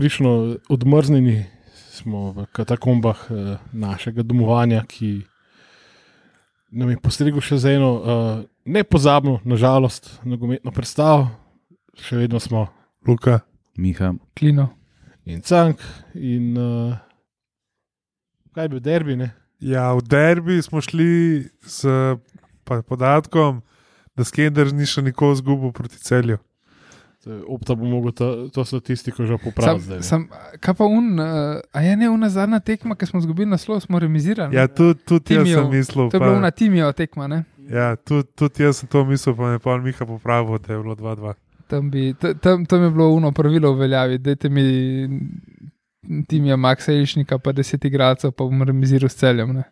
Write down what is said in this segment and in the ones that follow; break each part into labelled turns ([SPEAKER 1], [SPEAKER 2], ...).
[SPEAKER 1] frišno odmrznjeni smo v katakombah eh, našega domovanja, ki nam je postregel še za eno eh, nepozabno, nažalost, nogometno predstavo. Še vedno smo
[SPEAKER 2] Luka,
[SPEAKER 3] Miha,
[SPEAKER 4] Klino.
[SPEAKER 1] in Cank, in eh, kaj bi derbi, ne?
[SPEAKER 2] Ja, v derbi smo šli s pa- podatkom, da Skender ni še nikoli izgubil proti celju.
[SPEAKER 1] To je- Opta bo mogel to, to statistiko že
[SPEAKER 4] Sam,
[SPEAKER 1] popraviti. zdaj, ne.
[SPEAKER 4] sam, kaj pa un, uh, a je ne una zadnja tekma, ki smo izgubili naslov, smo remizirali.
[SPEAKER 2] Ja, tudi tud jaz
[SPEAKER 4] Timijev.
[SPEAKER 2] sem mislil.
[SPEAKER 4] to je
[SPEAKER 2] pa-
[SPEAKER 4] bila una timijo tekma, ne?
[SPEAKER 2] Ja, tudi tud jaz sem to mislil, pa me je pa Miha popravil, da je bilo 2-2.
[SPEAKER 4] Tam, bi, t- tam, tam je bilo uno pravilo uveljaviti, dajte mi timija Maxa Ilišnika, pa deset igralcev, pa bom remiziral s celjem. ne.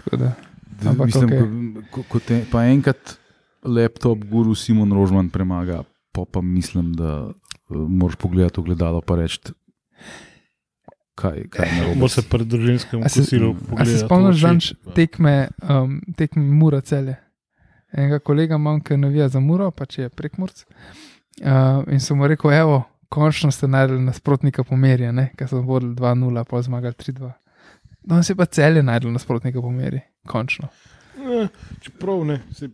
[SPEAKER 4] Tako da,
[SPEAKER 3] D-
[SPEAKER 4] Ampak
[SPEAKER 3] mislim,
[SPEAKER 4] okej.
[SPEAKER 3] okay. ko, ko te, pa enkrat laptop guru Simon Rožman premaga, pa, pa mislim, da eh, moraš pogledati v gledalo in reči, kaj, kaj je narobe.
[SPEAKER 1] Bo se pred družinskim
[SPEAKER 4] A se-
[SPEAKER 1] kosilu
[SPEAKER 4] a se
[SPEAKER 1] pogledal.
[SPEAKER 4] spomniš zanč tekme, um, tekme Mura celje? Enega kolega imam, ki navija za Muro, pa če je prek Murc. Uh, in sem mu rekel, evo, končno ste najdel nasprotnika pomerja, ker so vodili 2-0, pa zmagali 3-2. No, se pa celje najdel nasprotnika pomeri, končno.
[SPEAKER 1] Ne, Eh, čeprav ne. Se,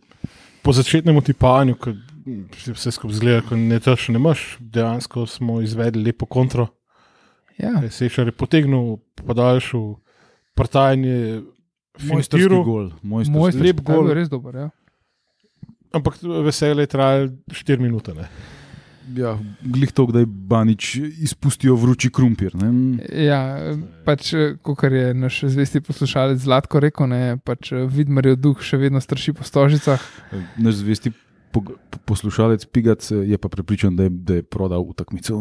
[SPEAKER 1] po začetnem tipanju, ko mm, se vse skupaj zgleda, ko ne točno ne maš, dejansko smo izvedli lepo kontro.
[SPEAKER 4] Ja,
[SPEAKER 1] Sešar je potegnil, podaljšal, prtajanje,
[SPEAKER 3] Mojstrski
[SPEAKER 1] fintiral,
[SPEAKER 3] gol, mojstrski
[SPEAKER 4] moj
[SPEAKER 1] lep gol.
[SPEAKER 4] je res dober. Ja.
[SPEAKER 1] ampak veselje je trajalo 4 minute. Ne.
[SPEAKER 3] Ja, glih to, kdaj Banič izpustijo vroči krumpir. Ne?
[SPEAKER 4] Ja, pač, kot je naš zvesti poslušalec Zlatko rekel, ne, pač Vidmarjev duh še vedno straši po stožicah.
[SPEAKER 3] Naš zvesti pog- po- poslušalec Pigac je pa prepričan, da je, da je prodal utakmico.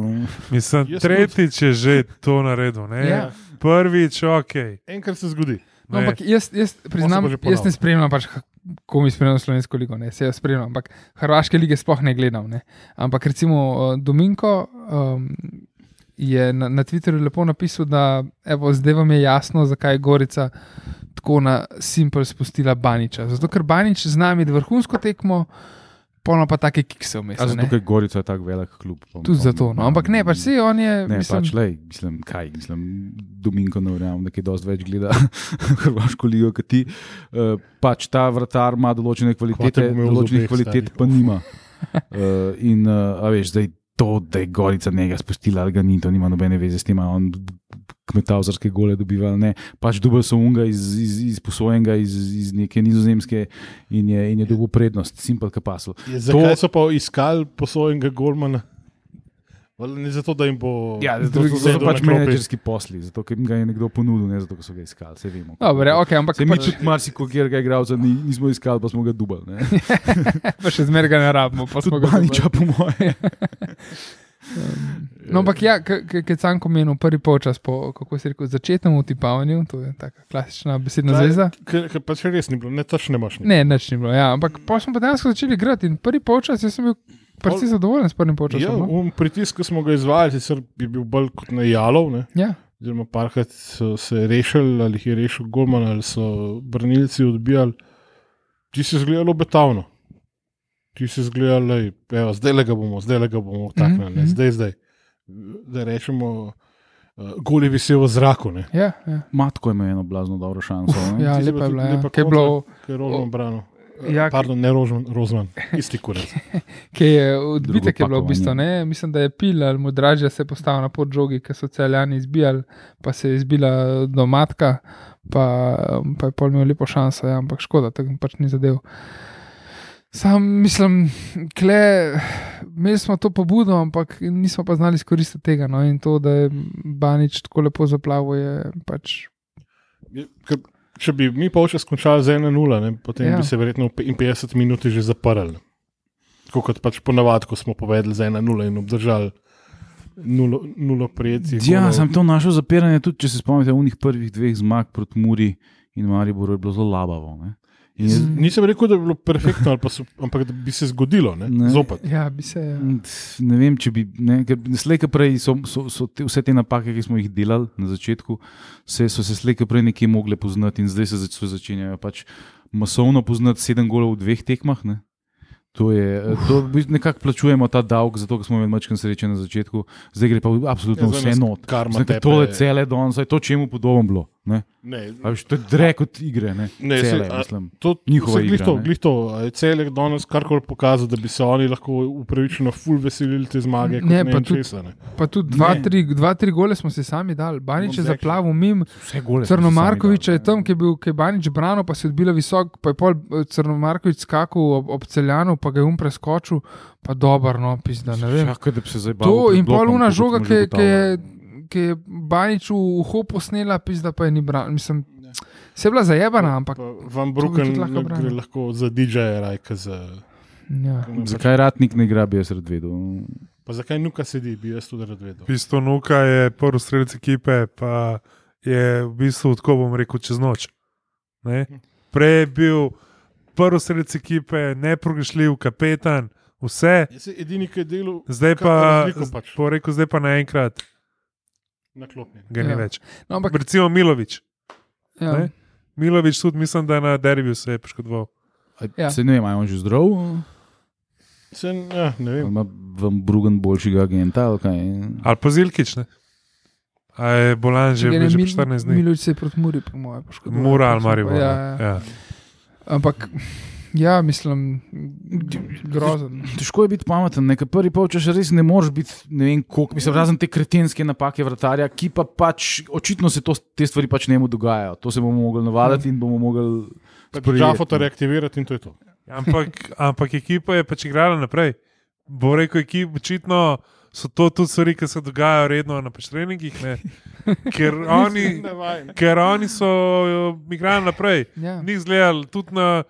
[SPEAKER 2] Mislim,
[SPEAKER 1] Jaz
[SPEAKER 2] tretjič je že to naredil. Ne?
[SPEAKER 4] Ja.
[SPEAKER 2] Prvič, ok.
[SPEAKER 1] Enkrat se zgodi.
[SPEAKER 4] No, ampak jaz, jaz priznam,
[SPEAKER 1] pa že
[SPEAKER 4] jaz ne
[SPEAKER 1] ponavlja.
[SPEAKER 4] spremljam, pač, h- ko mi spremljam slovensko ligo, ne, se jaz spremljam, ampak hrvaške lige sploh ne gledam. Ne. Ampak recimo eh, Dominko um, je na, na Twitterju lepo napisal, da evo, zdaj vam je jasno, zakaj je Gorica tako na simpel spustila Baniča. Zato ker Banič z nami vrhunsko tekmo, polno pa take kikse vmes.
[SPEAKER 3] A zato, ker Gorica je tako velik klub. pa-
[SPEAKER 4] Tudi
[SPEAKER 3] pa-
[SPEAKER 4] zato. No. Ampak ne, pač si on je.
[SPEAKER 3] Ne,
[SPEAKER 4] mislim,
[SPEAKER 3] mislim, pač le, mislim, kaj, mislim, Dominko ne verjamem, da je dosti več gleda Hrvaško ligo kot ti. Uh, pač ta vratar ima določene kvalitete,
[SPEAKER 1] Kvater bo imel
[SPEAKER 3] določenih
[SPEAKER 1] zobeh,
[SPEAKER 3] kvalitet
[SPEAKER 1] stari.
[SPEAKER 3] pa nima. Uh, in, uh, a veš, zdaj to, da je Gorica njega spustila, ali ga ni, to nima nobene veze s tem, a on kmetavzarske gole dobiva ali ne. Pač dobil so unga iz, iz, iz posojenega, iz, iz neke nizozemske in je, in je dobil prednost, simpel kapasl.
[SPEAKER 1] Je, zakaj so pa iskali posojenega Golmana? Ne zato, da jim bo.
[SPEAKER 3] Ja, zato, zato, zato so
[SPEAKER 1] sedel na
[SPEAKER 3] pač
[SPEAKER 1] klopi.
[SPEAKER 3] menedžerski posli, zato ker jim ga je nekdo ponudil, ne zato, ker so ga iskali. Se vemo.
[SPEAKER 4] Dobre, okay, ampak
[SPEAKER 3] Se mi
[SPEAKER 4] pač,
[SPEAKER 3] tudi marsikogerega igralca ni, nismo iskali, pa smo ga dubali. ne.
[SPEAKER 4] pa pač še zmeraj ga ne rabimo. pa smo
[SPEAKER 3] Tudi
[SPEAKER 4] ga dobili.
[SPEAKER 3] Baniča, po moje.
[SPEAKER 4] No, ampak ja, kaj sam omenil, prvi polčas po, kako se reče, začetnem utipavanju, to je taka klasična besedna
[SPEAKER 1] Zdaj,
[SPEAKER 4] zveza.
[SPEAKER 1] Ker ker pač res ni bilo, ne točno imaš.
[SPEAKER 4] Ne, nič ni bilo, ja, ampak pa smo pa dejansko začeli igrati in prvi polčas jaz sem bil precej zadovoljen s prvim
[SPEAKER 1] Ja,
[SPEAKER 4] polčasom. no.
[SPEAKER 1] um, pritisk, ki smo ga izvajali, sicer je bil bolj kot najalov. Ne?
[SPEAKER 4] Ja,
[SPEAKER 1] Oziroma, parkrat so se rešili, ali jih je rešil Golman, ali so brnilci odbijali. Ti si zgledal obetavno. Ti si zgledal, da zdaj le ga bomo, zdaj le ga bomo, tako mm
[SPEAKER 4] mhm.
[SPEAKER 1] -hmm. zdaj, zdaj. Da rečemo, uh, goli visijo v zraku. Ne?
[SPEAKER 4] ja, ja,
[SPEAKER 3] Matko ima eno blazno dobro šanso. ne.
[SPEAKER 4] ja
[SPEAKER 1] Ti si
[SPEAKER 4] lepa
[SPEAKER 1] pa
[SPEAKER 4] je bila.
[SPEAKER 1] tudi
[SPEAKER 4] Ja.
[SPEAKER 1] lepa
[SPEAKER 4] Kaj je bilo,
[SPEAKER 1] Ker je Rožman branil.
[SPEAKER 4] Ja,
[SPEAKER 1] Ja,
[SPEAKER 4] ki-
[SPEAKER 1] Pardon, ne Rožman, Rožman, isti kurec.
[SPEAKER 4] kaj je odbitek je bilo v bistvu,
[SPEAKER 3] pakovanje.
[SPEAKER 4] ne? mislim, da je pil ali modražja se je postavil na pot žogi, ker so celjani izbijali, pa se je izbila domatka, pa, um, pa je pol imel lepo šanso, ja, ampak škoda, tako pač ni zadev. Sam mislim, kle, imeli smo to pobudo, ampak nismo pa znali izkoristiti tega. No? In to, da je Banič tako lepo zaplavo, je pač.
[SPEAKER 1] Je- ker Če bi mi polčas končali z 1-0, ne, potem
[SPEAKER 4] Ja.
[SPEAKER 1] ja. bi se verjetno v pe- in 50 minut že zaprli. Tako kot pač ponavadi, ko smo povedali z 1-0 in obdržali nulo, nulo prijeti.
[SPEAKER 3] Ja, sem to našel zapiranje, tudi če se spomnite unih prvih dveh zmag proti Muri in Mariboru je bilo zelo labavo. Ne? In je-
[SPEAKER 1] Nisem rekel, da bi bilo perfektno, ali pa so, ampak da bi se zgodilo, ne?
[SPEAKER 3] Ne.
[SPEAKER 1] Ne. zopet.
[SPEAKER 4] Ja, bi se. Ja.
[SPEAKER 3] Ne vem, če bi. ne, ker Slej, ko prej so, so, so te, vse te napake, ki smo jih delali na začetku, se, so se slej, ko prej nekje mogle poznati in zdaj se zač, so začenjajo pač masovno poznati sedem golov v dveh tekmah. Ne? To je, eh, to v bistvu nekako plačujemo ta davek, zato ker smo imeli malo sreče na začetku, zdaj gre pa v-
[SPEAKER 1] Ja,
[SPEAKER 3] absolutno ja,
[SPEAKER 1] zdaj
[SPEAKER 3] vse
[SPEAKER 1] nas
[SPEAKER 3] not.
[SPEAKER 1] karma
[SPEAKER 3] Zdaj, ker
[SPEAKER 1] tepe.
[SPEAKER 3] Tole cele danes, saj to čemu podobno bilo. Ne?
[SPEAKER 1] Ne,
[SPEAKER 3] A Veš, to je drek od igre, ne,
[SPEAKER 1] Ne,
[SPEAKER 3] cele,
[SPEAKER 1] saj, a-
[SPEAKER 3] mislim.
[SPEAKER 1] To
[SPEAKER 3] Njihova
[SPEAKER 1] se glih
[SPEAKER 3] igra,
[SPEAKER 1] to,
[SPEAKER 3] ne.
[SPEAKER 1] glih to. A je Celek danes karkoli pokazal, da bi se oni lahko upravičeno ful veselili te zmage. kot
[SPEAKER 4] Ne,
[SPEAKER 1] Ne,
[SPEAKER 4] pa
[SPEAKER 1] pa
[SPEAKER 4] tudi-
[SPEAKER 1] česa. Ne.
[SPEAKER 4] Pa tudi dva,
[SPEAKER 3] Ne.
[SPEAKER 4] tri, dva, tri gole smo si sami dali. Banič je
[SPEAKER 1] Bom rekel.
[SPEAKER 4] zaplavil mim,
[SPEAKER 3] Vse gole. smo si sami
[SPEAKER 4] Crnomarkovič
[SPEAKER 3] dali,
[SPEAKER 4] je
[SPEAKER 3] ne.
[SPEAKER 4] tam, ki je bil ki je Banič brano, pa se je odbila visoko, pa je pol eh, Crnomarkovič skakal ob, ob celjanu, pa ga je um preskočil, pa dober, no, pizda, ne vem.
[SPEAKER 3] Čakaj, da bi se zdaj bavil.
[SPEAKER 4] To
[SPEAKER 3] pred
[SPEAKER 4] in pol
[SPEAKER 3] blokom,
[SPEAKER 4] una
[SPEAKER 3] tako kot
[SPEAKER 4] žoga,
[SPEAKER 3] smo
[SPEAKER 4] ki,
[SPEAKER 3] že
[SPEAKER 4] je- ki je.
[SPEAKER 3] ugotavljali.
[SPEAKER 4] Ki je Banič v uho posnela, pizda pa je ni bran. Mislim, se je bila zajebana, ampak.
[SPEAKER 1] Pa Van
[SPEAKER 4] bi tudi
[SPEAKER 1] Bruken
[SPEAKER 4] lahko branil.
[SPEAKER 1] gre lahko za DJ-je, rajka za.
[SPEAKER 4] Ja.
[SPEAKER 3] Zakaj ratnik ne igra, bi jaz rad vedel.
[SPEAKER 1] Pa zakaj nuka sedi, bi jaz tudi rad vedel.
[SPEAKER 2] Pisto Nuka je prvi strelec ekipe, pa je v bistvu tako bom rekel čez noč. Ne? Prej je bil prvi strelec ekipe, neprogrešljiv, kapetan, vse.
[SPEAKER 1] Jaz sem edini, ki je delal
[SPEAKER 2] Zdaj
[SPEAKER 1] Kaj
[SPEAKER 2] pa,
[SPEAKER 1] pa razliko pač?
[SPEAKER 2] pač. po reku, zdaj pa naenkrat
[SPEAKER 1] na klopni.
[SPEAKER 2] ga ja. ni
[SPEAKER 4] Ja.
[SPEAKER 2] več.
[SPEAKER 4] No, ampak
[SPEAKER 2] Recimo Milovič.
[SPEAKER 4] ja.
[SPEAKER 2] ne? Milovič tudi mislim, da na derivju se je poškodoval.
[SPEAKER 3] Ja.
[SPEAKER 4] Ja.
[SPEAKER 3] Se ne vem, ali je on že zdrav, ali
[SPEAKER 1] Sen, ja, ne vem.
[SPEAKER 3] ima vam drugen boljšega agenta. ali kaj?
[SPEAKER 2] Ali pa Zilkič, ne? A je bolan že,
[SPEAKER 4] Ga
[SPEAKER 2] bil
[SPEAKER 4] ne,
[SPEAKER 2] že
[SPEAKER 4] Mil-
[SPEAKER 2] 14 dni.
[SPEAKER 4] Milović se je proti Muri, po mojem, poškodoval.
[SPEAKER 2] Mura ali Marijo.
[SPEAKER 4] Ja, ja.
[SPEAKER 2] ja.
[SPEAKER 4] Ampak, ja, mislim, grozen.
[SPEAKER 3] Težko je biti pameten, nekaj prvi polčas res ne moreš biti, ne vem koliko, mislim, razen te kretenske napake vratarja, ki pa pač očitno se to, te stvari pač ne mu dogajajo. To se bomo mogli navaditi in bomo mogli. sprejeti.
[SPEAKER 1] Žafo to reaktivirati in to je to.
[SPEAKER 2] Ja, Ampak, ampak ekipa je pač igrala naprej. Bo rekel, ekip, očitno so to tudi stvari, ki se dogajajo redno na pač treningih, ne? ker oni, ker oni so jo, igrali naprej.
[SPEAKER 4] Ja.
[SPEAKER 2] Ni izgledali, tudi na,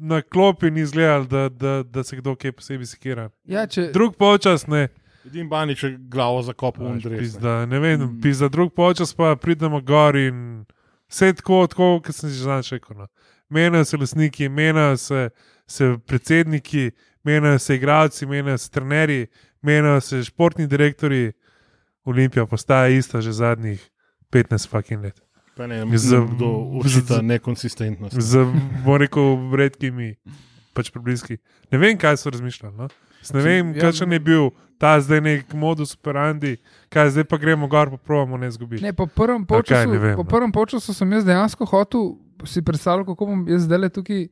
[SPEAKER 2] na klopi ni izgledali, da, da, da se kdo kaj posebej sikira.
[SPEAKER 4] Ja, če,
[SPEAKER 2] Drug počas ne,
[SPEAKER 1] Edin Banič je glavo zakopal v Andrej.
[SPEAKER 2] pizda, ne vem, pizda, drug počas pa pridemo gor in vse tako, tako kot sem že zadnjič rekel. No. Menajo se lasniki, menajo se, se predsedniki, menajo se igralci, menajo se trenerji, menajo se športni direktori. Olimpija postaja ista že zadnjih 15 fucking let.
[SPEAKER 1] Pa ne,
[SPEAKER 2] Z-
[SPEAKER 1] mislim, kdo očita
[SPEAKER 2] z-
[SPEAKER 1] nekonsistentnost.
[SPEAKER 2] Z, bom rekel, redkimi, pač prebliski. Ne vem, kaj so razmišljali. No? Jaz Ne vem,
[SPEAKER 3] Ja,
[SPEAKER 2] kakšen je bil ta zdaj nek modus operandi, kaj zdaj pa gremo gor, pa pravimo ne izgubiti.
[SPEAKER 4] ne, po prvem
[SPEAKER 2] kaj,
[SPEAKER 4] polčasu,
[SPEAKER 2] ne vem,
[SPEAKER 4] po
[SPEAKER 2] no.
[SPEAKER 4] prvem polčasu sem jaz dejansko hotel si predstavljati, kako bom jaz zdaj tukaj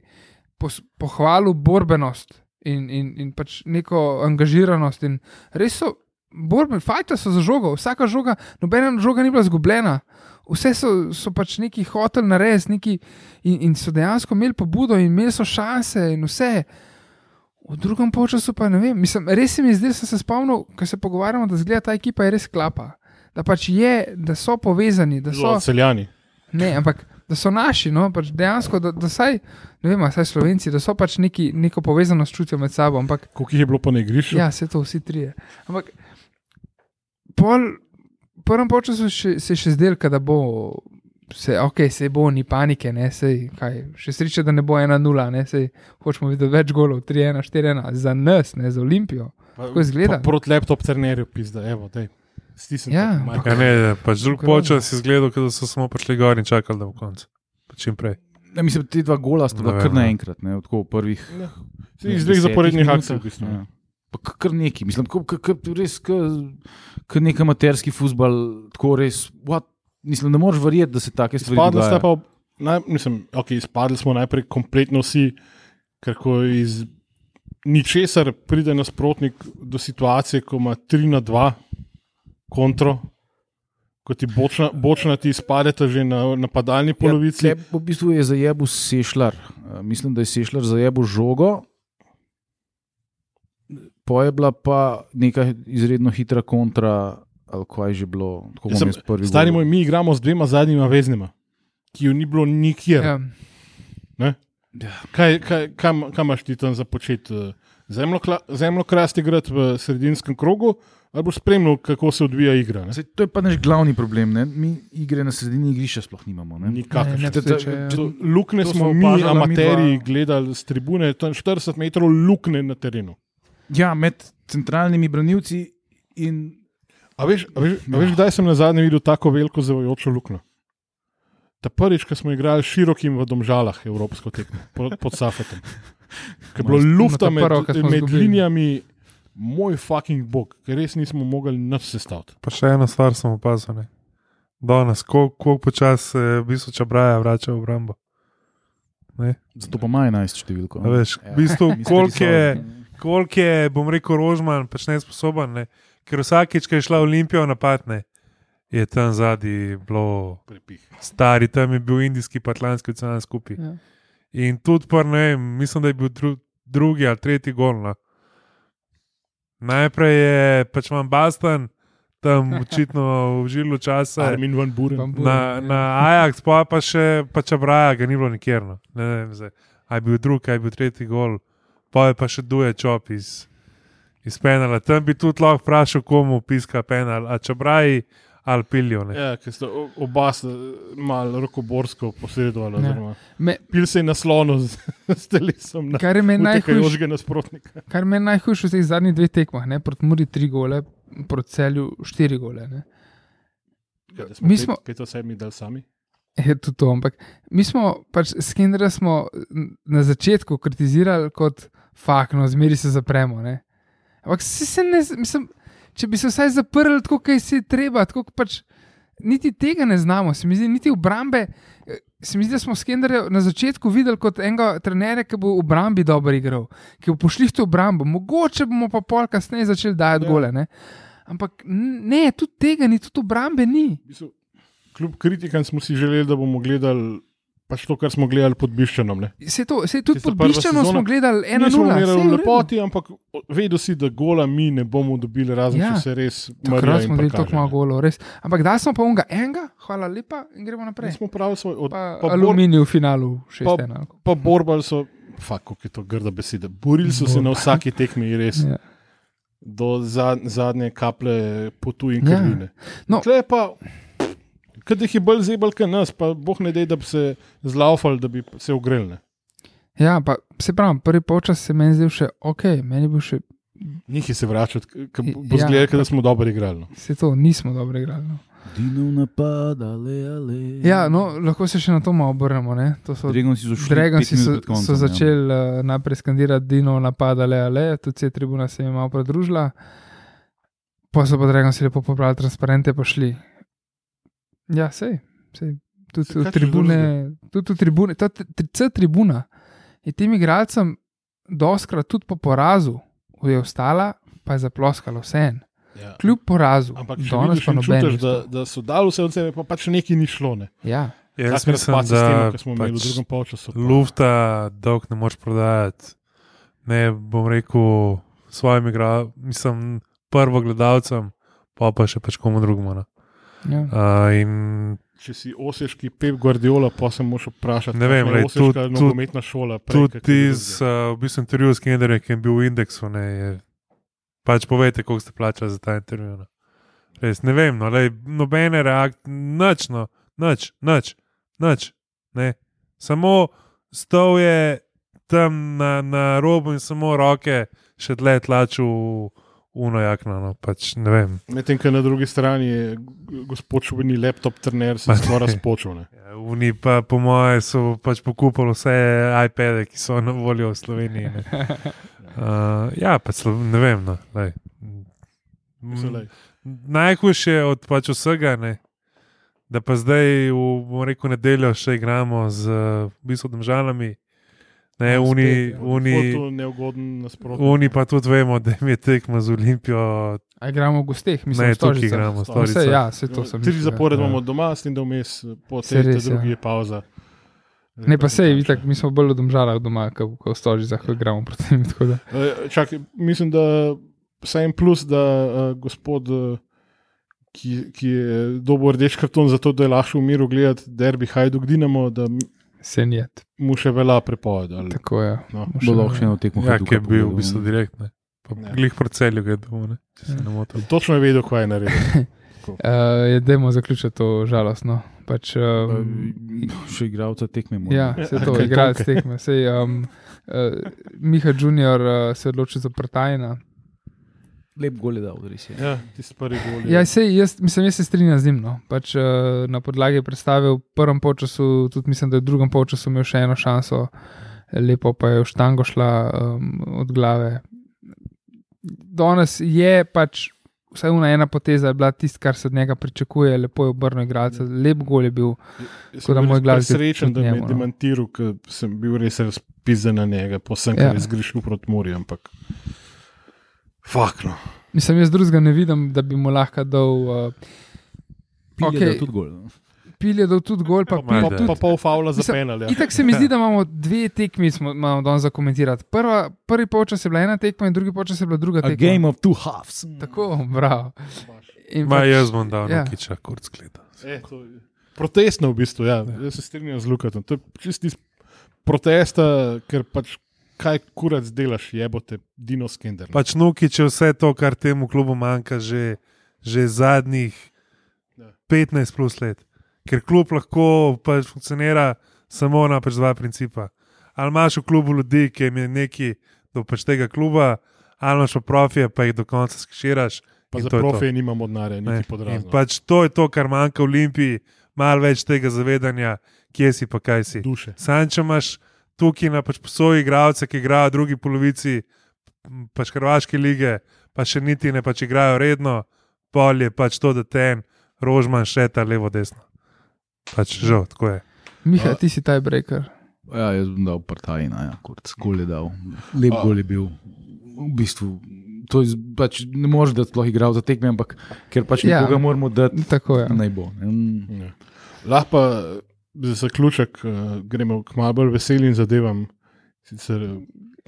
[SPEAKER 4] pos- pohvalil borbenost in, in, in pač neko angažiranost. In res so borbe, fajta so za žogo, vsaka žoga, nobena žoga ni bila izgubljena. Vse so, so pač neki hotel narediti, neki, in, in so dejansko imeli pobudo, in imeli so šanse, in vse. V drugem času pa ne vem. Mislim, res se mi zdi, da sem se spomnil, ko se pogovarjamo, da zgleda ta ekipa je res klapa. Da pač je, da so povezani, da so.
[SPEAKER 1] Zelo celjani.
[SPEAKER 4] Ne, ampak da so naši, no, pač dejansko, da, da saj, ne vem, a saj slovenci, da so pač neki, neko povezanost čutijo med sabo. Ampak
[SPEAKER 1] Koliko jih je bilo pa na igrišču?
[SPEAKER 4] ja, se to vsi trije. Ampak pol, prvem času še, se je še zdel, da bo. Se, ok, se bo, ni panike, ne, sej, kaj, še sreče, da ne bo 1-0, ne, sej, hočemo videti več golov, 3-1, 4-1, za nas, ne, za Olimpijo.
[SPEAKER 1] Pa-
[SPEAKER 4] Tako izgleda.
[SPEAKER 1] pa Proti laptop trenerju, pizda, evo, daj. Stisnite.
[SPEAKER 4] Ja,
[SPEAKER 1] Mike.
[SPEAKER 4] ampak-
[SPEAKER 2] Ja, ne, pač drug
[SPEAKER 4] Grozno.
[SPEAKER 2] počas je izgledal, kot da so samo prišli gor in čakali, da bo konc. Pa Čim prej.
[SPEAKER 3] Ne, mislim, te dva gola sta bila
[SPEAKER 2] Ne vem,
[SPEAKER 3] kar
[SPEAKER 2] ne.
[SPEAKER 3] naenkrat, ne, tako v prvih
[SPEAKER 1] Ja.
[SPEAKER 3] ne,
[SPEAKER 1] Iz dveh
[SPEAKER 3] desetih
[SPEAKER 1] zaporednih
[SPEAKER 3] minutah,
[SPEAKER 1] akcij, v bistvu.
[SPEAKER 3] ja. Pa k- kar neki, mislim, k, k, k, res kot nek amaterski futbol, tako res. What? Mislim, ne moreš verjeti, da se take stvari
[SPEAKER 1] Izpadli ste
[SPEAKER 3] dogajajo.
[SPEAKER 1] pa, ob- naj, mislim, okay, izpadli smo najprej kompletno vsi, ker ko iz ničesar pride nasprotnik do situacije, ko ima 3 na 2 kontro, ko ti bočna, bočna ti izpadeta že na napadalni polovici.
[SPEAKER 3] Ja, tle v bistvu je zajebu sešljar. Eh, Mislim, da je sešljar zajebu žogo. Po je bila pa neka izredno hitra kontra, ali kaj je že bilo. Tako
[SPEAKER 1] Jaz
[SPEAKER 3] bom
[SPEAKER 1] sem-
[SPEAKER 3] jaz prvi.
[SPEAKER 1] Stari moj,
[SPEAKER 3] govoril.
[SPEAKER 1] mi igramo z dvema zadnjima veznima, ki ju ni bilo nikjer.
[SPEAKER 4] Ja,
[SPEAKER 1] Kaj, kaj, kam, kam imaš ti tam za početi? Zemljo krast igrati v sredinskem krogu, ali boš spremljal, kako se odvija igra? ne?
[SPEAKER 3] Zdaj, to je pa naš glavni problem. Ne? Mi igre na sredini igrišča sploh nimamo. Ne?
[SPEAKER 1] Nikakor.
[SPEAKER 4] Ne, ne,
[SPEAKER 3] To- to-
[SPEAKER 4] sreče, ja.
[SPEAKER 3] to-
[SPEAKER 1] Lukne
[SPEAKER 3] To
[SPEAKER 1] smo, smo
[SPEAKER 3] smo
[SPEAKER 1] mi,
[SPEAKER 3] opažala
[SPEAKER 1] amateri,
[SPEAKER 3] midva.
[SPEAKER 1] gledali z tribune, tam 40 metrov lukne na terenu.
[SPEAKER 3] Ja, med centralnimi branilci in
[SPEAKER 1] A veš, a veš, a veš kdaj sem na zadnje videl tako veliko zavajočo luknjo? Ta prvič, ko smo igrali s širokim v domžalah, evropsko tekmo, po- pod Safetom. Ker je bilo lufta
[SPEAKER 4] Na ta
[SPEAKER 1] med,
[SPEAKER 4] prvo, ki smo
[SPEAKER 1] med
[SPEAKER 4] izgubili.
[SPEAKER 1] linijami, moj fucking bog, ker res nismo mogli nič sestaviti.
[SPEAKER 2] Pa še eno stvar sem opazil. Ne? Danes, koliko kol počasi se v bistvu čabraja vrača v obrambo.
[SPEAKER 3] Zato pa ima 11 številko. no.
[SPEAKER 2] A Veš, v bistvu,
[SPEAKER 3] Ja.
[SPEAKER 2] koliko je, kolik je, bom rekel, Rožman pač nesposoben, ne? ker vsakeč, ki je šla Olimpija v napad, ne? je tam zadnji bilo
[SPEAKER 1] Prepih.
[SPEAKER 2] stari, tam je bil indijski, pa atlantski, ocean skupaj.
[SPEAKER 4] Ja.
[SPEAKER 2] In tudi, par, ne vem, mislim, da je bil dru, drugi ali tretji gol. No. Najprej je pač vam Bastan, tam očitno v žilu časa.
[SPEAKER 1] Armin van Buren.
[SPEAKER 4] ja.
[SPEAKER 2] Na, na Ajax pa, pa še pa čabraja, ga ni bilo nikjer. No. Ne vem, zdaj, a je bil drugi, a je bil tretji gol, pa je pa še duje čop iz, iz penala. Tam bi tudi lahko vprašal, komu piska penal, a čabraji ali pilijo. Ne.
[SPEAKER 1] Ja, ker sta o- oba sta, eh, malo rokoborsko posredovala.
[SPEAKER 4] Ja.
[SPEAKER 1] oziroma
[SPEAKER 4] Me,
[SPEAKER 1] Pil se je naslonil z, z telesom na
[SPEAKER 4] kar je meni najhujše,
[SPEAKER 1] najhujšega nasprotnika.
[SPEAKER 4] Kar me najhujše v teh zadnjih dveh tekmah, ne, proti Muri tri gole, proti celju štiri gole. Ne.
[SPEAKER 1] Kaj, da
[SPEAKER 4] Mi
[SPEAKER 1] pet-
[SPEAKER 4] smo-
[SPEAKER 1] Kaj to vse mi dal sami?
[SPEAKER 4] Je tudi to, ampak mi smo pač Skindra smo n- na začetku kritizirali kot fakno, zmeri se zapremo. Ne. Ampak si se ne, z- mislim, če bi se vsaj zaprli, tako kaj si je treba, tako kot pač. Niti tega ne znamo, se mi zdi, niti obrambe. eh, Se mi zdi, da smo Skenderja na začetku videli kot enega trenerja, ki bo v obrambi dobro igral, ki bo pošlih to obrambo. Mogoče bomo pa pol kasneje začeli dajati
[SPEAKER 1] Ja.
[SPEAKER 4] gole. Ne? Ampak n- ne, tudi tega ni, tudi obrambe ni.
[SPEAKER 1] V bistvu, Kljub kritikam smo si želeli, da bomo gledali pač to, kar smo gledali pod Biščanom. Ne?
[SPEAKER 4] Se je to, se je tudi
[SPEAKER 1] Tista
[SPEAKER 4] pod
[SPEAKER 1] prva
[SPEAKER 4] Biščanom
[SPEAKER 1] sezona.
[SPEAKER 4] smo gledali eno
[SPEAKER 1] Nismo
[SPEAKER 4] nula.
[SPEAKER 1] gledali v
[SPEAKER 4] saj je v redu.
[SPEAKER 1] lepoti, ampak o- vedel si, da gola mi ne bomo dobili, razen ja.
[SPEAKER 4] Ja.
[SPEAKER 1] če se res
[SPEAKER 4] Takrat smo bili
[SPEAKER 1] videli
[SPEAKER 4] tako malo golo, res. Ampak da smo pa unga enega, hvala lepa in gremo naprej.
[SPEAKER 1] Smo pravi svoj od,
[SPEAKER 4] Pa,
[SPEAKER 1] pa bor-
[SPEAKER 4] pa aluminij v finalu, še
[SPEAKER 1] pa-
[SPEAKER 4] ena.
[SPEAKER 1] Pa borbali so, fakt, kako je to grda beseda. Borili so se na vsaki tekmi, res.
[SPEAKER 4] Ja.
[SPEAKER 1] ja. Do za, zadnje kaplje potu in
[SPEAKER 4] Ja.
[SPEAKER 1] krvine.
[SPEAKER 4] No.
[SPEAKER 1] Tle pa, kad jih je bolj zebal, kot nas, pa boh ne dej, da bi se zlaufali, da bi se ogrelili.
[SPEAKER 4] ja, pa se pravi, prvi počas se meni zdel še ok, meni je bil še
[SPEAKER 1] Njih je se vračati, k- k- bo
[SPEAKER 4] Ja.
[SPEAKER 1] zgledal, ja. da smo dobro igrali. no.
[SPEAKER 4] se to, nismo dobro igrali. No.
[SPEAKER 3] Dino napada, le ali.
[SPEAKER 4] Ja, no, lahko se še na to malo obrnemo. ne. To so
[SPEAKER 3] Dragonci so šli.
[SPEAKER 4] Dragoci
[SPEAKER 3] pet minut
[SPEAKER 4] so,
[SPEAKER 3] pred koncem,
[SPEAKER 4] so
[SPEAKER 3] ja.
[SPEAKER 4] začeli uh, najprej skandirati Dino, napadale ale, tudi C tribuna se jim je malo pridružila. Pa so pa Dragoci lepo pobrali transparente, pa šli. Ja, sej, sej. Tudi
[SPEAKER 1] Saj,
[SPEAKER 4] v
[SPEAKER 1] kaj češ
[SPEAKER 4] tribune, tudi v tribune, ta tri- tri- C tribuna je tem igralcem doskrat tudi po porazu je ostala, pa je zaploskala vse en.
[SPEAKER 1] Ja.
[SPEAKER 4] Kljub porazu,
[SPEAKER 1] Ampak če
[SPEAKER 4] danes
[SPEAKER 1] vidiš,
[SPEAKER 4] pa
[SPEAKER 1] in
[SPEAKER 4] noben. ni
[SPEAKER 1] čutiš, da,
[SPEAKER 4] vstal.
[SPEAKER 1] da so dali vse od sebe, pa pač neki ni šlo. Ne.
[SPEAKER 4] Ja,
[SPEAKER 2] Jaz
[SPEAKER 1] Takrat
[SPEAKER 2] mislim,
[SPEAKER 1] pa sistemu,
[SPEAKER 2] da
[SPEAKER 1] ki smo imeli v
[SPEAKER 2] pač
[SPEAKER 1] drugem polčasu. pa-
[SPEAKER 2] lufta dolg ne moreš prodajati. Ne bom rekel svojim igralcem, mislim, prvo gledalcem, pa pa še pač komu drugemu. No.
[SPEAKER 4] ja.
[SPEAKER 2] Uh, in
[SPEAKER 1] Če si oseški Pep Guardiola, pa se moraš vprašati,
[SPEAKER 2] Ne vem,
[SPEAKER 1] kakšna
[SPEAKER 2] lej,
[SPEAKER 1] je oseška
[SPEAKER 2] tudi-
[SPEAKER 1] nogometna šola. prej,
[SPEAKER 2] Tudi
[SPEAKER 1] kakor je
[SPEAKER 2] ti
[SPEAKER 1] drugega.
[SPEAKER 2] z uh, v bistvu intervjujem s Kenderjem, ki je bil v indeksu. Ne, je, pač povejte, koliko ste plačali za ta intervju. No. Res ne vem, no, lej, nobene reakcije, nič, no, nič, nič, nič. Ne. Samo stov je tam na, na robu in samo roke še tle tlačil v unojakno. No, pač ne vem.
[SPEAKER 1] Medtem, ko na drugi strani je g- gospod Šubini laptop trener, se
[SPEAKER 2] Ma
[SPEAKER 1] je
[SPEAKER 2] ne.
[SPEAKER 1] skoraj razpočil. ne.
[SPEAKER 2] Ja, Oni pa, po mojem, so pač pokupili vse iPade, ki so na voljo v Sloveniji. ne. Uh, ja, pa slo, ne vem. No, lej.
[SPEAKER 1] Mislim, lej,
[SPEAKER 4] Mm,
[SPEAKER 2] Najhujše od pač vsega, ne? da pa zdaj, v bomo rekel, nedeljo še igramo z eh, v bistvu državami. Ne,
[SPEAKER 4] No,
[SPEAKER 2] uni,
[SPEAKER 4] spet, ja.
[SPEAKER 1] je
[SPEAKER 2] uni,
[SPEAKER 1] to neugoden nasprotnik.
[SPEAKER 2] uni pa tudi vemo, da jim je tekma z Olimpijo,
[SPEAKER 4] A igramo v gosteh, mislim,
[SPEAKER 2] ne
[SPEAKER 4] v
[SPEAKER 2] tukaj
[SPEAKER 4] Stožicah.
[SPEAKER 2] igramo,
[SPEAKER 1] Stožicah.
[SPEAKER 2] storica.
[SPEAKER 4] Vse, ja, vse to sem.
[SPEAKER 1] Tri
[SPEAKER 4] mislil, ja.
[SPEAKER 1] zapored
[SPEAKER 2] ja.
[SPEAKER 1] imamo doma, s tem, da vmes po
[SPEAKER 4] Saj
[SPEAKER 1] tej
[SPEAKER 4] res,
[SPEAKER 1] drugi
[SPEAKER 4] ja.
[SPEAKER 1] je pauza.
[SPEAKER 4] Ne, pa sej, vitak, mi smo bolj v domžalah doma, kot v Stožicah,
[SPEAKER 1] Ja.
[SPEAKER 4] ko igramo proti njim. tako da.
[SPEAKER 1] Eh, Čakaj, mislim, da vsaj en plus, da eh, gospod, eh, ki, ki je dobil rdeč karton, zato da je lahko v miru gledati derbi Hajduk Dinamo, da
[SPEAKER 4] Se njet,
[SPEAKER 1] mu še velja prepoved. ali-
[SPEAKER 4] tako ja. je.
[SPEAKER 1] No.
[SPEAKER 4] Mu
[SPEAKER 3] Bo lahko še
[SPEAKER 4] ne-
[SPEAKER 3] eno tekmo.
[SPEAKER 2] Ja,
[SPEAKER 3] Hajduka no.
[SPEAKER 2] ki je bil
[SPEAKER 3] pogledal,
[SPEAKER 2] v bistvu
[SPEAKER 3] ne.
[SPEAKER 2] direktno.
[SPEAKER 1] Ja.
[SPEAKER 2] Glih po celju ga je domu, ne? če se ne
[SPEAKER 4] Ja.
[SPEAKER 2] motim.
[SPEAKER 1] Točno je vedel, kaj je naredil.
[SPEAKER 4] Eh, je, Dajmo zaključiti to žalostno. Pač, um,
[SPEAKER 3] Eh, Še igralca tekme. mora.
[SPEAKER 4] ja, se to,
[SPEAKER 1] Kaj
[SPEAKER 4] igralec
[SPEAKER 1] tonke.
[SPEAKER 4] tekme. Sej, um, uh, Miha Junior uh, se odloči za prtajna.
[SPEAKER 3] Lep gol je dal, res je.
[SPEAKER 1] Ja, tisti prvi gol. je-
[SPEAKER 4] Ja, sej, jaz, mislim, jaz se strinjam z njim. No. Pač, uh, na podlagi predstave v prvem polčasu, tudi mislim, da je v drugem polčasu imel še eno šanso. lepo pa je v štango šla um, od glave. Danes je pač vsaj ena, ena poteza je bila tisto, kar se od njega pričakuje, lepo je obrnil igralca, lep gol je bil.
[SPEAKER 1] Jaz
[SPEAKER 4] Tako da
[SPEAKER 1] sem
[SPEAKER 4] moj
[SPEAKER 1] bil
[SPEAKER 4] glas
[SPEAKER 1] res
[SPEAKER 4] je
[SPEAKER 1] srečen, da
[SPEAKER 4] tudi
[SPEAKER 1] me je
[SPEAKER 4] njemu, no.
[SPEAKER 1] demantiral, ker sem bil res razpisan na njega, po vsem, kar
[SPEAKER 4] Ja.
[SPEAKER 1] je zgrešil proti morju. Ampak, no. fakno.
[SPEAKER 4] Mislim, jaz drugega ne vidim, da bi mu lahko dal. Uh,
[SPEAKER 3] Pil je
[SPEAKER 4] Okej.
[SPEAKER 3] dal tudi gol. no.
[SPEAKER 4] Pil je dal tudi gol, pa
[SPEAKER 2] Pa
[SPEAKER 4] pil
[SPEAKER 2] malo,
[SPEAKER 4] tudi.
[SPEAKER 2] da.
[SPEAKER 1] Pa pol faula za
[SPEAKER 4] Mislim,
[SPEAKER 1] penal. ja.
[SPEAKER 4] Itak se mi zdi, da imamo dve tekmi, smo, imamo danes za komentirati. Prva, prvi polčas je bila ena tekma, in drugi polčas je bila druga
[SPEAKER 3] A
[SPEAKER 4] tekma.
[SPEAKER 3] game of two halves.
[SPEAKER 4] Tako, bravo. In
[SPEAKER 2] Ma
[SPEAKER 4] pač-
[SPEAKER 2] jaz bom dal
[SPEAKER 4] ja.
[SPEAKER 2] ja. nekaj kurc gleda.
[SPEAKER 1] Eh, to je- Protestno v bistvu, ja. Jaz se strinjam z Lukatom. To je čisti protesta, ker pač kaj kurac delaš, jebote, Dino Skender. no. ne.
[SPEAKER 2] Pač Nukič je vse to, kar temu klubu manjka že, že zadnjih
[SPEAKER 1] Ja.
[SPEAKER 2] 15 plus let. Ker klub lahko pač funkcionira samo na pač dva principa. Ali imaš v klubu ljudi, ki jim je neki do pač tega kluba, ali imaš v profije, pa jih do konca skširaš.
[SPEAKER 1] Pa za
[SPEAKER 2] in to je to.
[SPEAKER 1] profije nimamo denarja,
[SPEAKER 2] Ne,
[SPEAKER 1] niti
[SPEAKER 2] in
[SPEAKER 1] podrazno.
[SPEAKER 2] Pač to je to, kar manjka Olimpiji, malo več tega zavedanja, kje si pa kaj si.
[SPEAKER 1] Duše.
[SPEAKER 2] Sam, če imaš tukaj na pač posoji igralce, ki igrajo v drugi polovici m, pač Hrvaške lige, pa še niti ne pač igrajo redno, pol je pač to, da ten rožman še ta levo, desno. Pač žal, tako je.
[SPEAKER 4] Miha, ti si taj breaker.
[SPEAKER 3] Ja, jaz bom dal partajna, ja, kot skoli dal. Lep
[SPEAKER 1] A.
[SPEAKER 3] gol je bil. V bistvu, to je, z- pač, ne moreš, da sploh igral za tekme, ampak ker pač
[SPEAKER 4] Ja.
[SPEAKER 3] ja. nekoga moramo dati,
[SPEAKER 4] Tako ja. je.
[SPEAKER 3] naj bo. ne. Mm.
[SPEAKER 1] Ja. Lahko pa za zaključek eh, gremo k malo bolj veselim zadevam. Sicer, eh,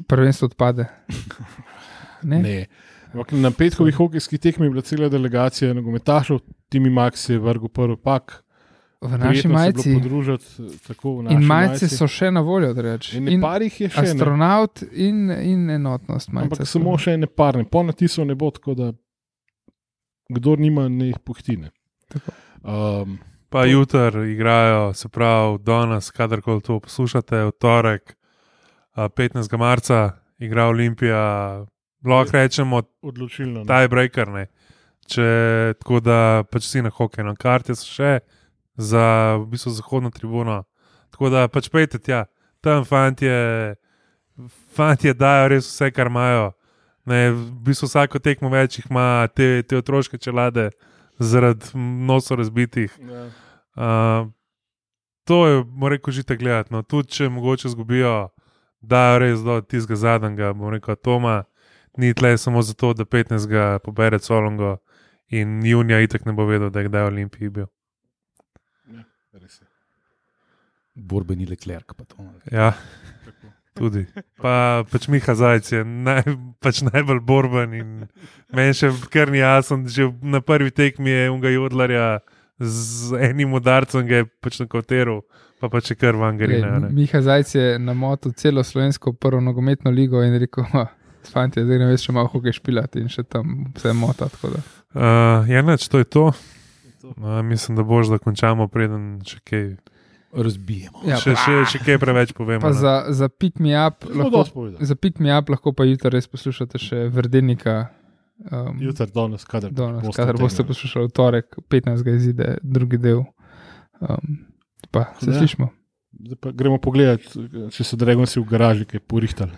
[SPEAKER 4] Prvenstvo odpade. Ne? ne.
[SPEAKER 1] ne. Ampak Na petkovih hokejskih tekmih je bila cela delegacija nogometašev, Timi Max je vrgel prvi pak.
[SPEAKER 4] V naši
[SPEAKER 1] Prijetno se je bilo
[SPEAKER 4] majici.
[SPEAKER 1] Podružiti, eh, tako, v naši
[SPEAKER 4] In majice
[SPEAKER 1] majici.
[SPEAKER 4] so še na voljo, da rečem.
[SPEAKER 1] In, in parih je še ne.
[SPEAKER 4] astronaut in, in enotnost. Majice,
[SPEAKER 1] Ampak samo še ene parne, po natisov ne bo tako, da kdo nima, ne jih pohtine.
[SPEAKER 4] Tako.
[SPEAKER 1] Um,
[SPEAKER 2] Pa jutr igrajo, se pravi, danes, kadarkoli to poslušate, v torek, a, 15. marca, igra Olimpija, lahko rečemo,
[SPEAKER 1] odločilno. ne.
[SPEAKER 2] tiebreaker. Ne. Če tako da pač si na hokeju, na karti so še za v bistvu zahodno tribuno. Tako da pač pejte tja, tam fantje, fantje dajo res vse, kar imajo. Ne, v bistvu vsako tekmo več jih ima te, te otroške čelade zaradi nosa razbitih.
[SPEAKER 1] Ja.
[SPEAKER 2] Uh, to je, moram reči, žite gledati. No. Tudi če mogoče izgubijo, da je res do tistega zadnjega, bom rekel, atoma, ni tle samo zato, da 15. pobere Solongo in junija itek ne bo vedel, da je kdaj v Olimpiji bil.
[SPEAKER 1] Res je.
[SPEAKER 3] Borbeni leklerk. Pa to,
[SPEAKER 2] Ja, tudi. Pa, pač Miha Zajc je naj, pač najbolj borben in meni še kar ni jasen, že na prvi tekmi je unga Jodlarja z enim udarcem ga je pač nakoteril, pa pa če kar van Garina. ne.
[SPEAKER 4] Miha Zajc je namotil celo slovensko prvo nogometno ligo in rekel: Fantje, zdaj ne veš, če malo hoke špilati in še tam vse mota. tako da."
[SPEAKER 2] Uh, ja, neč, to je to. Uh, mislim, da boš, da končamo, preden še kaj,
[SPEAKER 3] Razbijemo.
[SPEAKER 4] Ja,
[SPEAKER 2] še, še, še kaj preveč povemo.
[SPEAKER 4] Pa
[SPEAKER 2] ne.
[SPEAKER 4] za, za pick me up
[SPEAKER 1] Zelo
[SPEAKER 4] lahko,
[SPEAKER 1] No, dosti povedal.
[SPEAKER 4] za pick me up lahko pa jutri res poslušate še Verdenika. Um,
[SPEAKER 1] Jutri, danes, kadar
[SPEAKER 4] Danes, kadar boste poslušali v torek, 15. izide drugi del. Um, pa se
[SPEAKER 1] Ja.
[SPEAKER 4] slišmo.
[SPEAKER 1] eh, Zdaj pa gremo pogledat, če so Dragonci v garaži kaj porihtali.